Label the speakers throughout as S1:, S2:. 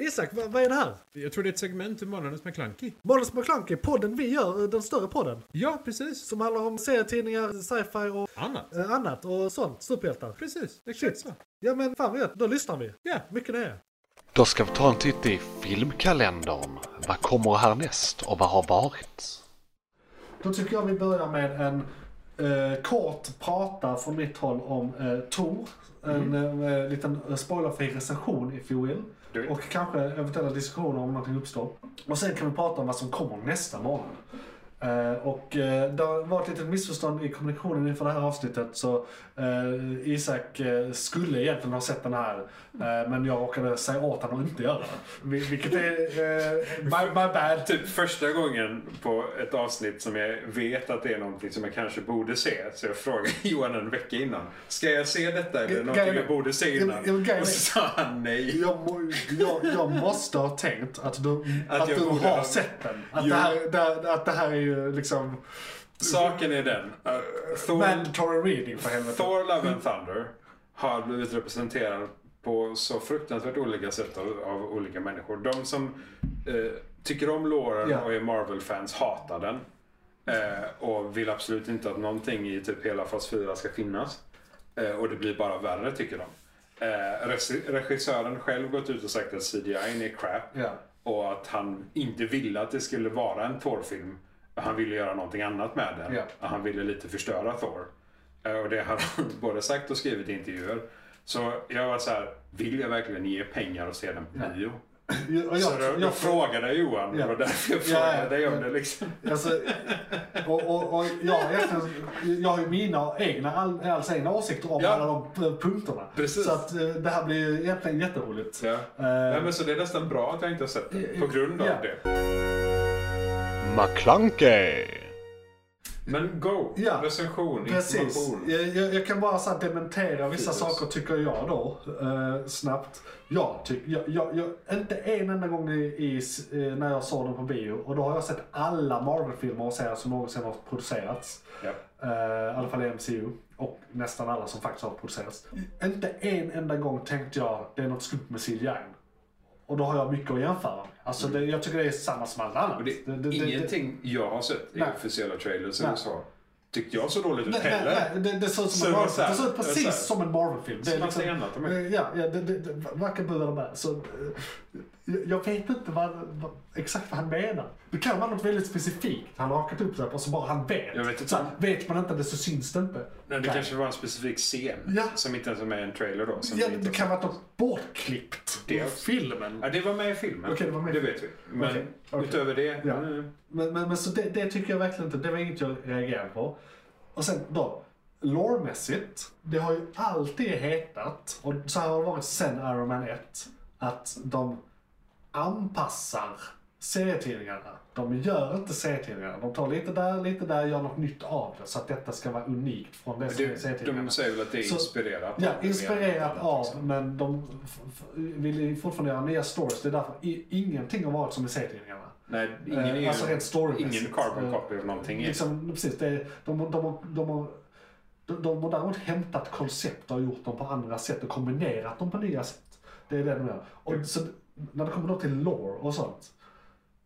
S1: Isak, vad, vad är det här?
S2: Jag tror det är ett segment ur Månadens McKlunky.
S1: Måns McClunky, podden vi gör, eh, den större podden.
S2: Ja, precis.
S1: Som handlar om serietidningar, sci-fi och
S2: Annat.
S1: eh, annat och sånt. Superhjältar.
S2: Precis, exakt så.
S1: Ja men fan vad gött, då lyssnar vi.
S2: Ja.
S1: Mycket det är.
S3: Då ska vi ta en titt i filmkalendern. Vad kommer härnäst och vad har varit?
S1: Då tycker jag vi börjar med en eh, kort prata från mitt håll om eh, Tor. En eh, liten eh, spoilerfri recension i fjol. Och kanske eventuella diskussioner om någonting uppstår. Och sen kan vi prata om vad som kommer nästa månad. Eh, och eh, det har varit ett litet missförstånd i kommunikationen inför det här avsnittet så eh, Isak eh, skulle egentligen ha sett den här eh, men jag råkade säga åt honom att inte göra det. Vil- Vilket är eh, my, my bad.
S4: Typ första gången på ett avsnitt som jag vet att det är någonting som jag kanske borde se. Så jag frågade Johan en vecka innan. Ska jag se detta eller
S1: Ge-
S4: någonting
S1: grejen är-
S4: jag borde se
S1: ge- ge-
S4: innan?
S1: grejen
S4: Och
S1: är-
S4: så sa han nej.
S1: Jag, må, jag, jag måste ha tänkt att du, att
S4: Att jag
S1: du
S4: borde
S1: har
S4: ha-
S1: sett den. Att
S4: Jo.
S1: det, här, det, att det här är ju liksom
S4: Saken är den. att Thor,
S1: mandatory reading för helvete.
S4: Thor Love and Thunder har blivit representerad på så fruktansvärt olika sätt av, av olika människor. De som eh, tycker om Lauren
S1: Ja.
S4: och är Marvel-fans hatar den. Eh, och vill absolut inte att någonting i typ hela fas 4 ska finnas. Eh, och det blir bara värre tycker de. Eh, regi- regissören själv gått ut och sagt att CGI är crap.
S1: Ja.
S4: Och att han inte ville att det skulle vara en Thor-film. Han ville göra någonting annat med den.
S1: Ja.
S4: Och Han ville lite förstöra Thor. Eh, Och det har han både sagt och skrivit i intervjuer. Så jag var så här, vill jag verkligen ge pengar och se den på bio?
S1: Och
S4: Så då, då frågade jag Johan,
S1: Ja.
S4: det var därför jag
S1: Ja, ja,
S4: frågade dig om
S1: ja.
S4: det liksom.
S1: Alltså, och, och, och jag, har egentligen- jag har ju mina egna, all, alls egna åsikter om
S4: Ja.
S1: alla de p- punkterna.
S4: Precis.
S1: Så att eh, det här blir ju egentligen jätteroligt.
S4: Ja.
S1: Eh,
S4: Nej, men så det är nästan bra att jag inte har sett den, på grund av
S1: Ja.
S4: det.
S3: McClunkey!
S4: Men go!
S1: Ja.
S4: Recension,
S1: Precis.
S4: information.
S1: Jag, jag, jag kan bara så här dementera vissa
S4: Fyrus.
S1: saker tycker jag då, eh, snabbt. Jag tycker, jag, jag, jag, inte en enda gång i, i, s- eh, när jag såg den på bio, och då har jag sett alla Marvel-filmer och serier som någonsin har producerats.
S4: Ja.
S1: Eh, I alla fall i MCU. Och nästan alla som faktiskt har producerats. Inte en enda gång tänkte jag, det är något skumt med CGI. Och då har jag mycket att jämföra med. Alltså det, jag tycker det är samma som allt annat.
S4: Och Mm. det, ingenting jag har sett i
S1: Nej.
S4: officiella trailers
S1: Nej.
S4: eller så tyckte jag så dåligt ut
S1: Nej, nej,
S4: heller.
S1: nej, det, det såg ut
S4: Så
S1: som
S4: det
S1: en
S4: var
S1: Marvel
S4: så här,
S1: Det såg ut
S4: det var
S1: precis
S4: så här.
S1: som en Marvel-film. Det är
S4: Som allting annat de är.
S1: eh, Ja, ja det, det, det, varken bu eller bä. Så, eh, jag- Jag vet inte vad, vad, exakt vad han menar. Det kan vara något väldigt specifikt. Han har hakat upp sig på så bara han vet.
S4: Jag vet inte.
S1: Så här, vet man inte det så syns det inte.
S4: Nej, det
S1: Nej.
S4: kanske var en specifik scen
S1: Ja.
S4: som inte ens är med i en trailer då. Som
S1: Ja,
S4: vi inte
S1: det
S4: har
S1: kan
S4: sett.
S1: vara något bortklippt
S4: Det
S1: ur
S4: också.
S1: filmen.
S4: Ja, det var med i filmen.
S1: Okej, det var med.
S4: vet vi. Men
S1: Okej, okej.
S4: utöver det.
S1: Ja.
S4: mm,
S1: Men, men, men så det, det tycker jag verkligen inte, det var inget jag reagerade på. Och sen då, lore-mässigt, det har ju alltid hetat, och så här har det varit sen Iron Man 1, att de anpassar serietidningarna. De gör inte serietidningarna. De tar lite där, lite där, gör något nytt av det. Så att detta ska vara unikt från det som är
S4: Det,
S1: serietidningarna.
S4: de säger väl att det är
S1: Så-
S4: inspirerat
S1: Ja,
S4: av-
S1: inspirerat av,
S4: liksom.
S1: men de f- f- vill ju fortfarande göra nya stories. Det är därför i, ingenting har varit som i serietidningarna.
S4: Nej, ingen är
S1: Eh,
S4: ju...
S1: alltså rent storymässigt.
S4: ingen carbon
S1: Eh,
S4: copy av någonting. Liksom.
S1: Liksom, precis, det är, de, de, de, de, har- de, de har däremot hämtat koncept och gjort dem på andra sätt och kombinerat dem på nya sätt. Det är det de gör.
S4: Mm.
S1: Och så, när det kommer då till lore och sånt.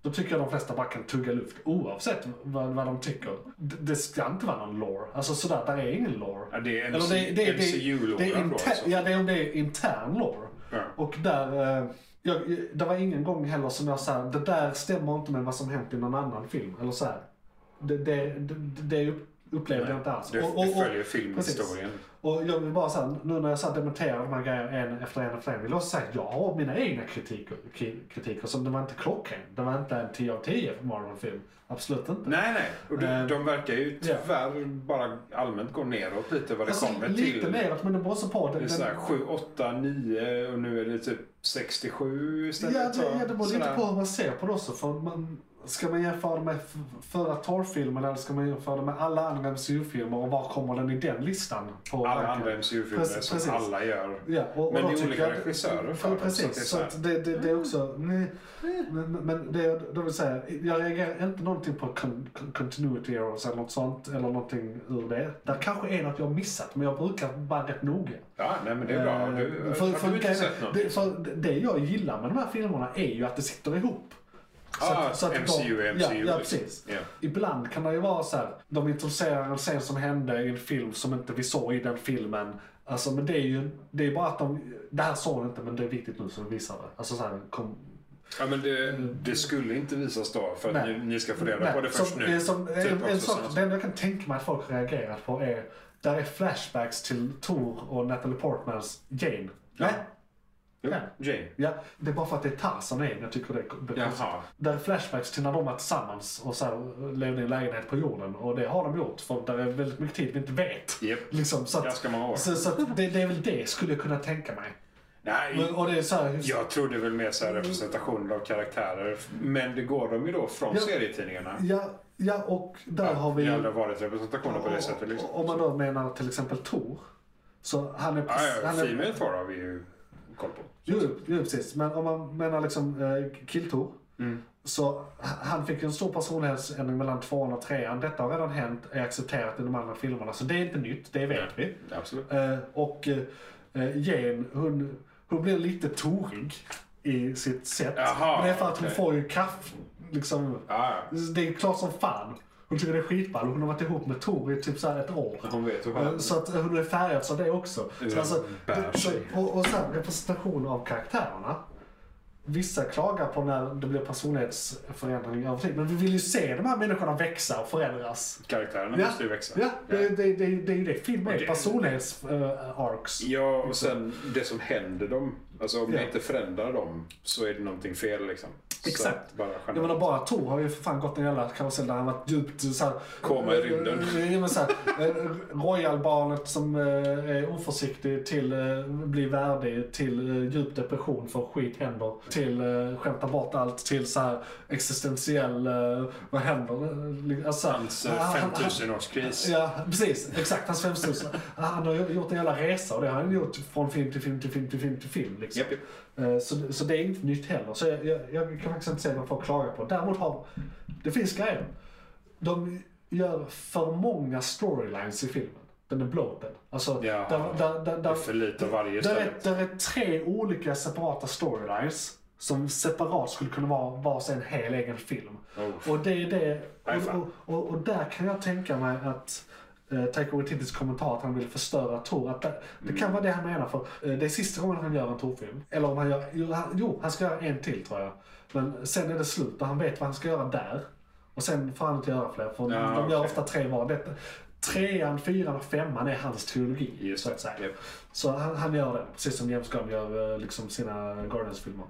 S1: Då tycker jag de flesta bara kan tugga luft oavsett vad, vad de tycker. Det, det ska inte vara någon lore. Alltså sådär, där är ingen lore.
S4: Ja, det är
S1: Eller det, det, det,
S4: MCU-lore.
S1: det är
S4: då,
S1: inter,
S4: alltså.
S1: ja, det är om det är intern lore.
S4: Ja.
S1: Och där, eh, jag, det var ingen gång heller som jag sa det där stämmer inte med vad som hänt i någon annan film. Eller så här. Det, det, det, det upplevde jag inte alls.
S4: Det,
S1: Och- och-
S4: det
S1: och-
S4: följer
S1: precis.
S4: filmhistorien.
S1: Och jag vill bara säga, nu när jag så här dementerar de här grejerna en efter en efter en, vill jag också säga att jag har mina egna kritiker, ki- kritiker som det var inte klockren. Det var inte en 10 av 10 för Marvel-film. Absolut inte.
S4: Nej, nej. Och de,
S1: Eh,
S4: de verkar ju
S1: Typ. ja.
S4: tyvärr bara allmänt gå neråt lite vad det
S1: Alltså,
S4: kommer
S1: lite
S4: till.
S1: neråt, men det beror så på. Det,
S4: Det är
S1: det-
S4: sådär 7, 8, 9 och nu är det typ 67 istället.
S1: Ja, det,
S4: så-
S1: ja, det beror
S4: sådär.
S1: lite på hur man ser på det också. För man, Ska man jämföra det med f- förra Thor-filmen eller ska man jämföra det med alla andra MCU-filmer och var kommer den i den listan? På
S4: Alla
S1: rankingen?
S4: andra MCU-filmer
S1: Precis,
S4: som
S1: precis.
S4: alla gör.
S1: Ja, och,
S4: Men
S1: och då
S4: det är
S1: tycker
S4: olika
S1: jag-
S4: regissörer för
S1: Ja,
S4: dem, så att det är
S1: Precis,
S4: så
S1: så
S4: här. Mm.
S1: att det, det, det är också... Nej, men, men det jag då vill säga, jag reagerar inte någonting på con, con- continuity errors eller något sånt, eller någonting ur det. Där kanske är något jag har missat, men jag brukar vara rätt noga.
S4: Ja, nej men det är bra.
S1: Eh,
S4: Du,
S1: för, för,
S4: har du inte
S1: grejen-
S4: sett något?
S1: det, för det jag gillar med de här filmerna är ju att det sitter ihop.
S4: Ah, MCU är
S1: ja,
S4: MCU,
S1: ja,
S4: liksom.
S1: precis.
S4: Ja.
S1: Ibland kan det ju vara så här, de introducerar en scen som hände i en film som inte vi såg i den filmen. Alltså, men det är ju det är bara att de, det här såg ni inte men det är viktigt nu så vi visar det. Alltså så här, kom,
S4: Ja, men det, det skulle inte visas då för att
S1: Mm. Nej.
S4: ni, ni ska få reda på det först
S1: som,
S4: nu.
S1: eh, Som,
S4: Typ
S1: en,
S4: också
S1: en sak,
S4: sådana-
S1: det enda jag kan tänka mig att folk har reagerat på är, där är flashbacks till Thor och Natalie Portmans Jane.
S4: Ja.
S1: Nej,
S4: Jo,
S1: Ja.
S4: Jane.
S1: Ja, det är bara för att det är Tarzan igen. Jag tycker det är det är konstigt.
S4: Jaha.
S1: Där är flashbacks till när de var tillsammans och så här, levde i en lägenhet på jorden. Och det har de gjort, för där är väldigt mycket tid vi inte vet.
S4: Japp.
S1: Liksom, så att,
S4: Ganska många år.
S1: så, så att det, det är väl det skulle jag kunna tänka mig.
S4: Nej,
S1: Men, och det är så här, just,
S4: jag trodde väl mer så här representation av karaktärer. Men det går de ju då från
S1: Ja.
S4: serietidningarna.
S1: ja, ja, och där har vi...
S4: Det har aldrig varit representationer på det sättet. Liksom.
S1: Om man då menar till exempel Tor. Så han är...
S4: Ja, ja,
S1: han är
S4: Female Thor har vi ju koll på.
S1: Jo, jo, precis. Men om man menar liksom eh, Killtor.
S4: Mm.
S1: Så h- han fick ju en stor personlighetsändring mellan tvåan och trean. Detta har redan hänt, är accepterat i de andra filmerna. Så det är inte nytt, det vet vi.
S4: Absolut.
S1: Eh, och eh, eh, Jane, hon, hon blir lite torig i sitt sätt.
S4: Jaha,
S1: Men det är för att hon
S4: okej.
S1: får ju kaff... Liksom,
S4: Ja, ja.
S1: Det är klart som fan. Hon tycker det är skitball. Hon har varit ihop med Tor i typ så här ett år.
S4: Hon vet hur
S1: Eh,
S4: han...
S1: Så att hon är färgad av det också.
S4: Ja,
S1: Så alltså,
S4: bär
S1: så,
S4: sig.
S1: och, och sen representation av karaktärerna. Vissa klagar på när det blir personlighetsförändring över tid. Men vi vill ju se de här människorna växa och förändras.
S4: Karaktärerna måste ju växa.
S1: ja det, det, det, det är ju det film
S4: Och
S1: är. eh,
S4: det-
S1: Personlighets-arcs.
S4: Ja, och sen det som händer dem. Alltså om
S1: Ja.
S4: jag inte förändrar dem så är det någonting fel liksom. Så
S1: Exakt.
S4: att Bara generellt.
S1: Jag menar bara Tor har ju för fan gått en jävla karusell där han varit djupt såhär...
S4: Koma i rymden.
S1: Ja, men såhär, eh, Royal-barnet som eh, är oförsiktig till eh, blir värdig, till eh, djup depression för skit händer, till eh, skämta bort allt, till såhär existentiell, eh, vad händer? Alltså,
S4: Hans eh, 5000-årskris.
S1: Ja, precis. Exakt. Hans 5000. Han har gjort en jävla resa och det har han gjort från film till film till film till film till film. Liksom.
S4: Japp, japp.
S1: Eh, Så, så det är inte nytt heller. Så jag, jag, jag kan faktiskt inte se vad folk klagar på. Däremot har... Det finns grejer. De gör för många storylines i filmen. Den är bloated. Alltså,
S4: Ja,
S1: där, där,
S4: det är för lite av varje
S1: där är,
S4: istället.
S1: där är tre olika separata storylines som separat skulle kunna vara var sin hel egen film.
S4: Oh.
S1: Och det är det...
S4: Nej,
S1: Och,
S4: fan.
S1: och, och, och där kan jag tänka mig att eh, Taika Waititis kommentar att han vill förstöra Tor. Att det, det
S4: Mm.
S1: kan vara det han menar för eh, det är sista gången han gör en Tor-film. Eller om han gör... Jo han, jo, han ska göra en till tror jag. Men sen är det slut och han vet vad han ska göra där. Och sen får han inte göra fler för
S4: Ja,
S1: de gör
S4: okej.
S1: ofta tre var. Detta, trean, fyran och femman är hans trilogi.
S4: Just
S1: så
S4: det,
S1: att säga.
S4: japp.
S1: Så han, han gör det, precis som James Gunn gör eh, liksom sina Guardians-filmer.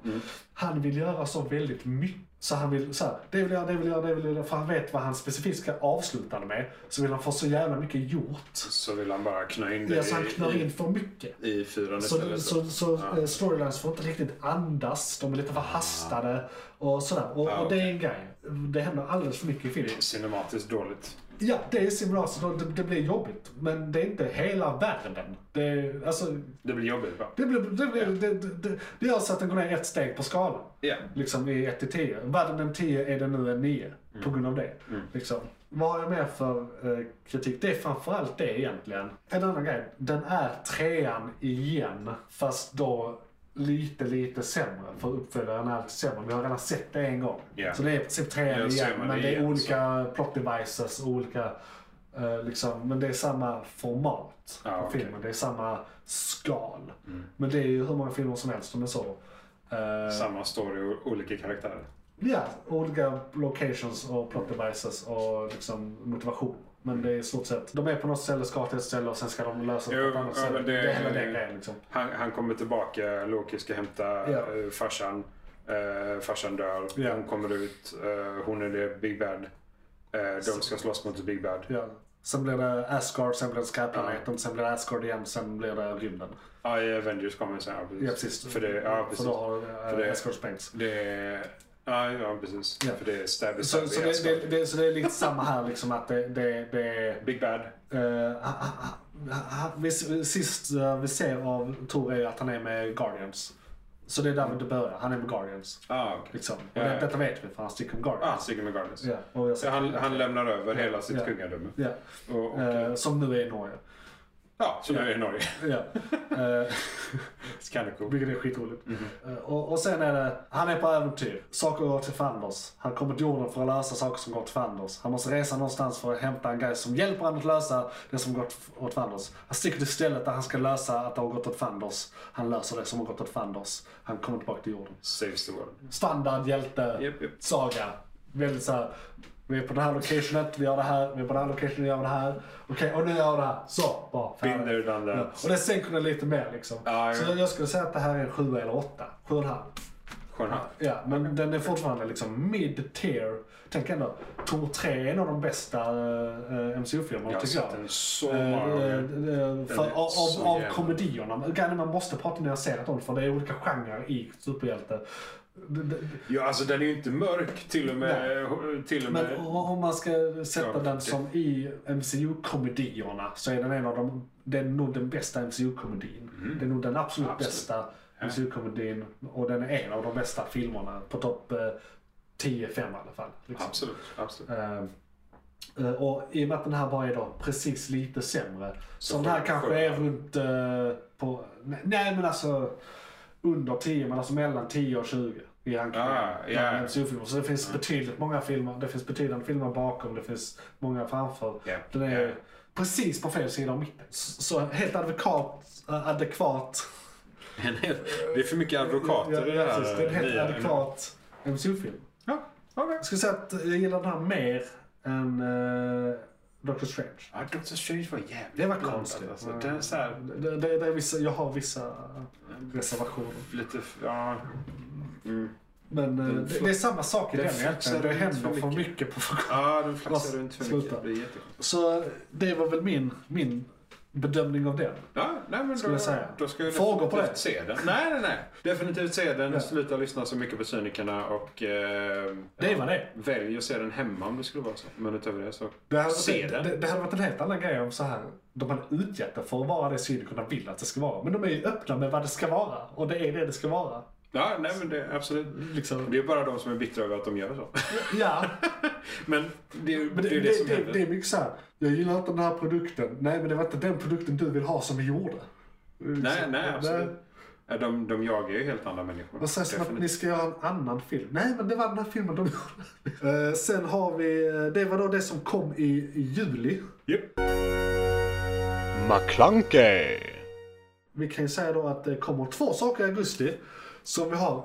S1: Han vill göra så väldigt mycket. Så han vill så här, det vill jag, det vill jag, det vill jag. För han vet vad han specifikt ska avsluta det med. Så vill han få så jävla mycket gjort.
S4: Så vill han bara knö in
S1: Det
S4: det
S1: är så han knör in
S4: i,
S1: för mycket.
S4: i, i fyran
S1: Så,
S4: istället.
S1: så, så
S4: Ja.
S1: eh, storylines får inte riktigt andas, de är lite förhastade och sådär. Och,
S4: Ah,
S1: och det är
S4: okej.
S1: en grej. Det händer alldeles för mycket i
S4: Det
S1: filmen.
S4: är Cinematiskt dåligt.
S1: Ja, det är simulator. Det, det blir jobbigt. Men det är inte hela världen. Det, är- alltså,
S4: Det blir jobbigt va?
S1: det, blir, det, blir, det, det, det, det gör så att den går ner ett steg på skalan.
S4: Ja.
S1: Liksom i 1 till 10. Världen en 10 är den nu en 9.
S4: Mm.
S1: På grund av det. Liksom. Vad har jag mer för eh, kritik? Det är framförallt det egentligen. En annan grej. Den är trean igen. Fast då lite, lite sämre. För uppföljaren är lite sämre. Vi har redan sett det en gång.
S4: Ja.
S1: Så det är i princip trean
S4: Ja,
S1: igen.
S4: ser man
S1: Men
S4: det
S1: det är
S4: igen,
S1: olika plot devices. och Olika, eh, liksom, men det är samma format
S4: Ja,
S1: på
S4: okej. Mm.
S1: filmen. Det är samma skal. Men det är ju hur många filmer som helst som är så. Eh,
S4: Samma story och olika karaktärer.
S1: Ja, olika locations och plot devices och liksom motivation. Men det är i stort sett, de är på något ställe, ska till ett ställe och sen ska de lösa det på
S4: Jo,
S1: ett annat
S4: ja,
S1: ställe.
S4: men det-
S1: Det är hela den grejen liksom.
S4: Han, han kommer tillbaka, Loki ska hämta
S1: Ja.
S4: eh, farsan. Eh, farsan dör,
S1: Ja.
S4: hon kommer ut, eh, hon är det Big Bad. Eh, de ska slåss mot Big Bad.
S1: Ja. Sen blir det Asgard, sen blir det skräpplaneten, sen blir det Asgard igen, sen blir det rymden.
S4: Ja, i Avengers kommer sen.
S1: Ja, precis.
S4: För det, ja,
S1: För
S4: precis.
S1: då har
S4: För det-
S1: äh, Asgard sprängts.
S4: Det, Ja, ja precis.
S1: Ja.
S4: För det är stabby,
S1: Så,
S4: stabby alltså.
S1: så, det, det, det, så det är lite samma här liksom att det, det, det
S4: Big Bad.
S1: Eh, ha- ha- ha- ha- vi- Sist eh, vi ser av Tor är att han är med Guardians. Så det är
S4: Mm.
S1: där det börjar. Han är med Guardians.
S4: Ah, okej.
S1: Liksom. Och
S4: Ja,
S1: det,
S4: ja.
S1: detta vet vi för han sticker med
S4: Ah,
S1: Guardians.
S4: Sigmund Gardens.
S1: Ja, och jag
S4: Så
S1: ser,
S4: han, han lämnar över hela sitt
S1: Ja.
S4: kungadöme.
S1: ja.
S4: Och, och,
S1: Eh, som nu är i Norge.
S4: ja, så nu är det Norge.
S1: Ja. Eh,
S4: Scannercool.
S1: vilket är skitroligt.
S4: Mhm.
S1: Eh, och, och sen är det, han är på äventyr. Saker går till Fanders. Han kommer till jorden för att lösa saker som går till Fanders. Han måste resa någonstans för att hämta en guy som hjälper honom att lösa det som gått åt Fanders. Han sticker till stället där han ska lösa att det har gått åt Fanders. Han löser det som har gått åt Fanders. Han kommer tillbaka till jorden.
S4: Saves the world.
S1: Standard hjälte,
S4: Japp, japp.
S1: saga. Väldigt såhär, vi är på det här locationet, vi gör det här, vi är på det här locationet, vi gör det här. Okej, och nu gör jag det här. Så, bara. färdigt.
S4: Been there, done that.
S1: Ja, Och det sänker den lite mer liksom.
S4: Ja, ja.
S1: Så jag skulle säga att det här är en 7 eller 8. 7,5.
S4: Skön hand.
S1: Ja, men den är fortfarande liksom mid-tier. Tänk ändå, Tor 3 är en av de bästa uh, MCU-filmerna
S4: Jag har
S1: tycker jag.
S4: sett den så
S1: Eh,
S4: många
S1: eh,
S4: gånger.
S1: eh, för,
S4: är
S1: av,
S4: så
S1: av, av
S4: jävla-
S1: komedierna. Granne, Man måste prata nyanserat om det, för det är olika genrer i superhjälte. D- d-
S4: Ja, alltså den är ju inte mörk till och med. Till och med.
S1: Men o- om man ska sätta
S4: Ja,
S1: den
S4: det-
S1: som i MCU-komedierna så är den en av de, det är nog den bästa MCU-komedin. Det är nog den absolut,
S4: Mm. Absolut.
S1: bästa MCU-komedin och den är en av de bästa filmerna på topp eh, 10-5 i alla fall. liksom.
S4: Absolut, absolut.
S1: Eh, eh, och i och med att den här bara är då precis lite sämre.
S4: Så
S1: Så den här
S4: sju-
S1: kanske är
S4: sjua.
S1: runt eh, på, nej, nej men alltså under 10 men alltså mellan 10 och 20 i rankingen.
S4: Ah, ja.
S1: Bland MCU-filmer. Så det finns betydligt många filmer, det finns betydande filmer bakom, det finns många framför.
S4: Ja.
S1: Den är
S4: Ja.
S1: precis på fel sida av mitten. Så, så helt advokat, eh, adekvat.
S4: Det är för mycket advokater i det
S1: Ja,
S4: här. eh,
S1: precis. det är en helt
S4: nya-
S1: adekvat MCU-film.
S4: Ja, okej.
S1: Jag skulle säga att jag gillar den här mer än eh, Doctor Strange.
S4: Ja, Doctor Strange var jävligt
S1: Det var
S4: blandad,
S1: konstigt.
S4: Alltså. Den är så här,
S1: Det, det, det är vissa, jag har vissa reservationer.
S4: lite, ja. Mm.
S1: Men eh, det, det är samma sak i
S4: Det
S1: den
S4: fixar
S1: egentligen. Det
S4: runt för
S1: händer för
S4: mycket.
S1: mycket på för kort.
S4: Ja, den flaxar
S1: Vad-
S4: runt för
S1: sluta.
S4: mycket. Det är jättekonstigt.
S1: Så eh, det var väl min, min bedömning av den.
S4: Ja, nej, men
S1: Skulle
S4: då,
S1: jag säga.
S4: då ska jag
S1: Frågor på
S4: definitivt
S1: det?
S4: se den. Nej, nej, nej. Definitivt se den.
S1: Ja.
S4: Sluta lyssna så mycket på cynikerna och eh,
S1: Det var det.
S4: välj att se den hemma om det skulle vara så. Men utöver det så
S1: Det hade,
S4: se
S1: varit,
S4: den.
S1: det, det hade varit en helt annan grej om så här. De hade utgett det för att vara det cynikerna vill att det ska vara. Men de är ju öppna med vad det ska vara. Och det är det det ska vara.
S4: Ja, nej men det absolut.
S1: Liksom.
S4: Det är bara de som är bittra över att de gör så.
S1: Ja,
S4: Men det, är-
S1: Men
S4: det är ju det, som händer.
S1: det är mycket såhär, jag gillar inte den här produkten. Nej men det var inte den produkten du vill ha som vi gjorde.
S4: nej,
S1: Liksom,
S4: nej, absolut. Ja, De, de jagar ju helt andra människor.
S1: Och sen som att
S4: Definitivt.
S1: ni ska göra en annan film. Nej men det var den här filmen de gjorde. Eh, sen har vi, eh, det var då det som kom i, i juli.
S4: Japp.
S3: McClunkey!
S1: Vi kan ju säga då att det kommer två saker i augusti som vi har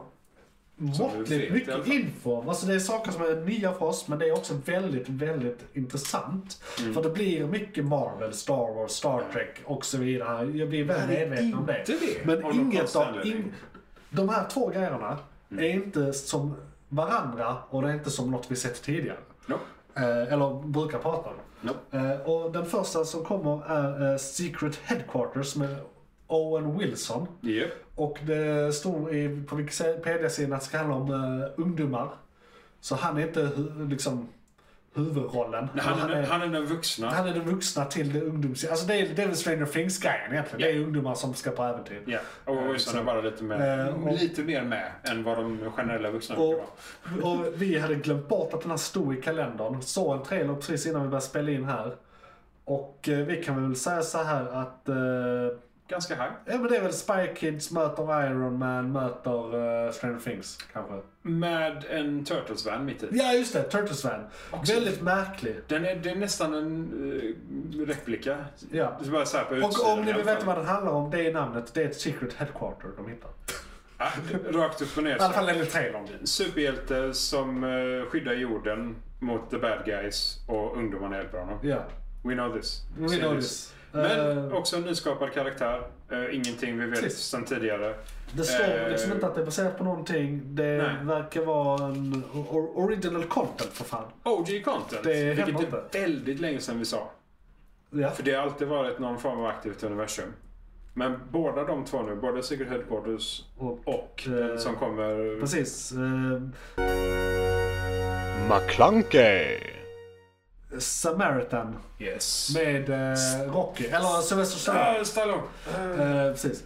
S4: vet i
S1: måttligt
S4: alla
S1: mycket
S4: fall.
S1: info om. Alltså det är saker som är nya för oss men det är också väldigt, väldigt intressant.
S4: Mm.
S1: För det blir mycket Marvel, Star Wars, Star Trek och så vidare. Jag blir väl medveten om det.
S4: inte det, Mm.
S1: Men
S4: av någon
S1: inget
S4: konstig
S1: av...
S4: anledning.
S1: In, de här två grejerna är inte som varandra och det är inte som något vi sett tidigare.
S4: No.
S1: Eh, eller brukar prata om.
S4: No.
S1: Eh, och den första som kommer är eh, Secret Headquarters med Owen Wilson.
S4: Japp.
S1: Och det står i, på Wikipedia-sidan att det ska handla om eh, ungdomar. Så han är inte hu- liksom huvudrollen.
S4: Nej, Han,
S1: han,
S4: är,
S1: är,
S4: han är den vuxna.
S1: han är den vuxna till det ungdoms... Alltså det är, det är väl Stranger Things-grejen egentligen. Det är ungdomar som ska på äventyr.
S4: Ja, och Wilson är bara lite mer,
S1: Eh, och-
S4: lite mer med än vad de generella vuxna brukar
S1: Och,
S4: vara.
S1: och vi hade glömt bort att den här stod i kalendern. Såg en trailer precis innan vi började spela in här. Och eh, vi kan väl säga så här att... Eh,
S4: Ganska high.
S1: ja men det är väl Spy Kids möter Iron Man möter eh, Stranger Things kanske.
S4: Med en Turtles-van mitt i.
S1: Ja just det, Turtles Van. Väldigt märklig.
S4: Den är, det är nästan en eh, replika.
S1: Ja.
S4: Det är bara så här på
S1: Och
S4: utsidan
S1: om ni
S4: i alla
S1: vill veta
S4: fall.
S1: vad den handlar om, det är namnet. Det är ett secret headquarter de hittar.
S4: Ah, Rakt upp och ner.
S1: I alla fall enligt trailern.
S4: Superhjälte som eh, skyddar jorden mot the bad guys och ungdomarna hjälper honom.
S1: Ja.
S4: We know this.
S1: We
S4: See
S1: know this.
S4: Men
S1: Eh,
S4: också en nyskapad karaktär. Eh, ingenting vi vet
S1: Precis.
S4: sedan tidigare.
S1: Det står
S4: Eh,
S1: liksom inte att det är baserat på någonting. Det
S4: Nej.
S1: verkar vara en or- original content för fan.
S4: OG content,
S1: Det händer
S4: vilket
S1: inte.
S4: är väldigt länge sedan vi sa.
S1: Ja.
S4: För det har alltid varit någon form av aktivt universum. Men båda de två nu, både Secret Headquarters
S1: Och,
S4: och
S1: eh,
S4: den som kommer...
S1: Precis. Eh,
S3: McClunkey!
S1: Samaritan
S4: Yes.
S1: med eh, Rocky. Eller Sylvester Stallone.
S4: Ah, Stallone! Eh,
S1: Eh, precis.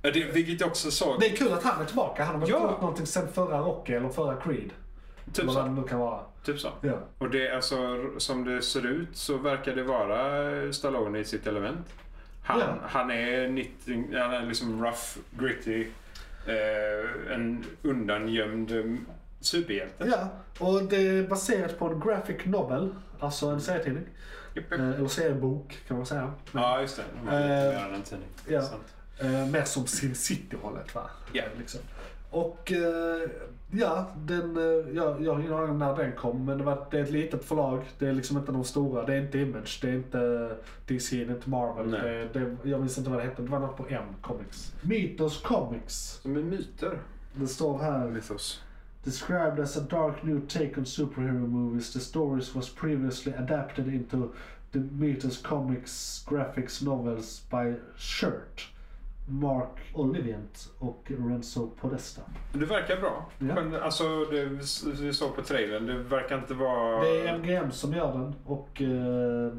S4: det, vilket jag också såg.
S1: Det är kul att han är tillbaka. Han har väl
S4: Ja.
S1: inte gjort någonting sen förra Rocky eller förra Creed.
S4: Typ
S1: Vad det
S4: så.
S1: nu kan vara.
S4: Typ så.
S1: Ja.
S4: Och det, är alltså, som det ser ut så verkar det vara Stallone i sitt element. Han,
S1: Ja.
S4: han är 90, han är liksom rough, gritty, eh, en undangömd eh, superhjälte.
S1: ja. Och det är baserat på en graphic novel. Alltså en serietidning.
S4: Japp, japp.
S1: Eh, eller seriebok kan man säga.
S4: Ja, just det. De har
S1: Eh,
S4: lite mer än en tidning.
S1: ja.
S4: Sant.
S1: Eh, mer som Sin City-hållet va?
S4: Ja.
S1: Liksom. Och eh, ja, den, eh, jag, jag har ingen aning om när den kom men det, var, det är ett litet förlag. Det är liksom inte de stora. Det är inte Image, det är inte DC, det är inte Marvel.
S4: Nej.
S1: Det, det, jag minns inte vad det hette, det var något på M, Comics. Mythos Comics.
S4: Som är myter.
S1: Det står här.
S4: Mythos.
S1: Described as a dark new take on superhero movies, the stories was previously adapted into the Mythos Comics graphics novels by Shirt, Mark Olivient och Renzo Podesta.
S4: Det verkar bra.
S1: Ja.
S4: Men alltså, det vi s- vi såg på trailern, det verkar inte vara...
S1: Det är MGM som gör den och eh,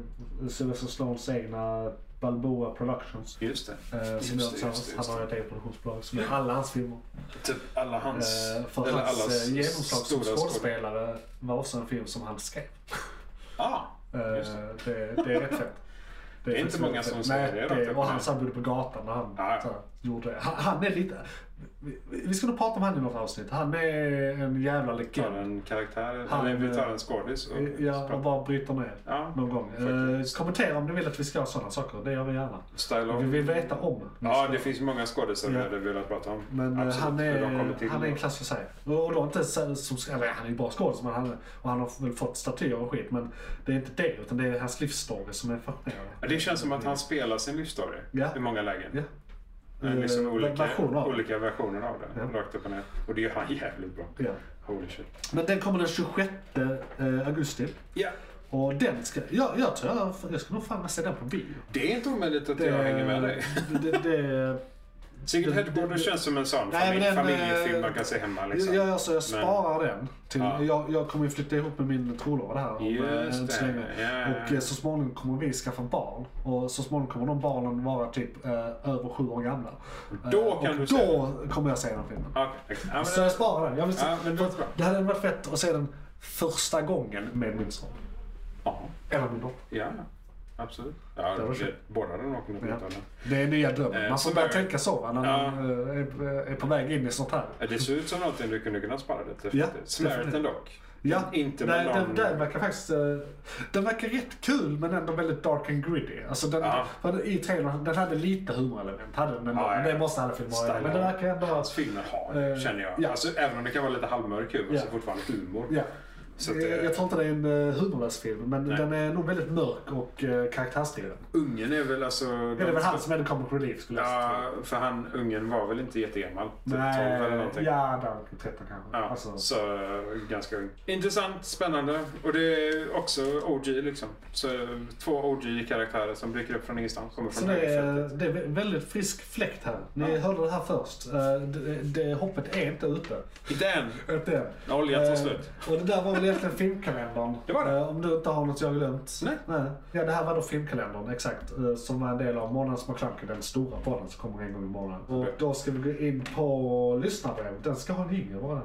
S1: Sylvester Stallones egna Balboa Productions.
S4: Just det.
S1: Eh, som
S4: det,
S1: gör
S4: just det,
S1: tillsammans.
S4: just
S1: Han har
S4: det.
S1: ett eget produktionsbolag som gör alla hans filmer.
S4: Typ alla hans...
S1: Eh, för
S4: eller
S1: hans
S4: allas
S1: eh, genomslag som
S4: stora skåd-
S1: skådespelare var också en film som han skrev.
S4: Ah,
S1: Eh,
S4: Just
S1: det, det är rätt fett.
S4: Det är inte
S1: faktiskt
S4: många
S1: rätt
S4: som
S1: fett.
S4: säger det,
S1: Nej,
S4: rakt upp
S1: Och
S4: och
S1: han
S4: ner.
S1: som bodde på gatan när han
S4: Ja.
S1: så här, gjorde det. Han, han är lite... vi- Vi vi ska nog prata om han i något avsnitt. Han är en jävla
S4: vi tar
S1: legend.
S4: en karaktär,
S1: Han,
S4: eller vi tar en
S1: eh,
S4: skådis och
S1: Ja, och
S4: pratar.
S1: bara bryter ner
S4: Ja,
S1: någon gång. Eh,
S4: faktiskt.
S1: kommentera om ni vill att vi ska ha sådana saker. Det gör vi gärna. Vi
S4: Stallone.
S1: vill veta om.
S4: Ja, det finns många skådisar vi
S1: Ja.
S4: hade velat prata om.
S1: Men eh,
S4: Absolut,
S1: han
S4: för de kommer
S1: är,
S4: till
S1: han är en klass för sig. Och då inte så, som, eller, han är ju bra skådis men han, och han har väl fått statyer och skit. Men det är inte det utan det är hans livsstory som är fascinerande.
S4: Ja, Det känns som att han spelar sin livsstory
S1: Mm. Ja.
S4: i många lägen.
S1: Ja.
S4: Eh, Liksom
S1: Eh,
S4: olika,
S1: versioner av det.
S4: olika versioner av det. Rakt upp och ner. Och det gör han jävligt bra.
S1: Ja.
S4: Holy shit.
S1: Men den kommer den 26 eh, augusti.
S4: Ja,
S1: Och den ska, jag, jag tror jag, jag ska nog fan med se den på bio.
S4: det är inte omöjligt att jag hänger med dig.
S1: Det, det, det,
S4: Secret
S1: det-
S4: Headquarter
S1: det-
S4: känns som en sån
S1: Nej, men
S4: familj,
S1: den, eh,
S4: familjefilm man kan se hemma. Liksom.
S1: jag, alltså, jag sparar den. Till,
S4: Ja.
S1: jag, jag kommer ju flytta ihop med min trolåda här om eh,
S4: Just
S1: inte så
S4: det,
S1: länge.
S4: ja.
S1: Och eh, så småningom kommer vi skaffa barn. Och så småningom kommer de barnen vara typ eh, över sju år gamla.
S4: Då
S1: Eh,
S4: kan
S1: och
S4: du se
S1: då kommer jag se den filmen.
S4: Ja, okej. Ja, men-
S1: Så jag sparar den. Jag vill se,
S4: Ja, men det låter bra.
S1: det hade varit fett att se den första gången med min son.
S4: Ja,
S1: Eller min dotter.
S4: ja, absolut. Ja,
S1: Det var så.
S4: det, båda de åker nog
S1: Ja.
S4: utan
S1: Det är nya drömmen.
S4: Eh,
S1: Man får
S4: så
S1: börja
S4: där-
S1: tänka så va, när
S4: Ja.
S1: man eh, är, är på väg in i sånt här.
S4: det. Det ser ut som någonting du kunde kunna spara lite.
S1: Ja,
S4: definitivt. Samaritan
S1: definitivt.
S4: dock.
S1: Ja,
S4: Inte med
S1: nej, den,
S4: någon-
S1: den verkar faktiskt... eh, Den verkar rätt kul men ändå väldigt dark and gritty. Alltså den,
S4: Ja.
S1: för I trailern, den hade lite humorelement. Hade den ändå.
S4: Ja, ja.
S1: Men Det måste alla filmer ha. Men den verkar ändå...
S4: Hans filmer har,
S1: Eh,
S4: känner jag.
S1: ja.
S4: Alltså, även om det kan vara lite halvmörk humor
S1: Ja.
S4: så är det fortfarande humor.
S1: Ja.
S4: Så att,
S1: jag,
S4: eh,
S1: jag tror inte det är en eh, humorlös film men
S4: Nej.
S1: den är nog väldigt mörk och eh, karaktärsdriven.
S4: Ungen är väl alltså...
S1: Det är väl han som är the comic relief skulle jag tro.
S4: Ja, för han, ungen var väl inte jättegammal? Typ 12 eller
S1: Nej,
S4: någonting.
S1: ja, där, 13 kanske.
S4: Ja,
S1: Alltså,
S4: Så eh, ganska ung. Intressant, spännande och det är också OG liksom. Så eh, två OG-karaktärer som dyker upp från ingenstans. Kommer
S1: Så
S4: från
S1: det är,
S4: högerfältet.
S1: Eh, det är väldigt frisk fläkt här. Ni
S4: Ja.
S1: hörde det här först. Eh, Det, det hoppet är inte ute.
S4: Inte än.
S1: Inte än.
S4: Oljan tar
S1: Eh,
S4: slut.
S1: Och det där var väl egentligen filmkalendern.
S4: Det var det.
S1: Eh, Om du inte har något jag har glömt.
S4: Nej.
S1: Ja, det här var då filmkalendern, exakt. eh, Som var en del av Månadens McClunky, den stora podden som kommer en gång i månaden. Och då ska vi gå in på lyssnarbrevet. Den ska ha en jingel, var den?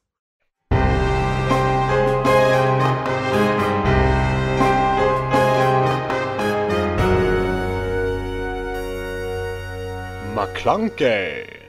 S3: McClunkey!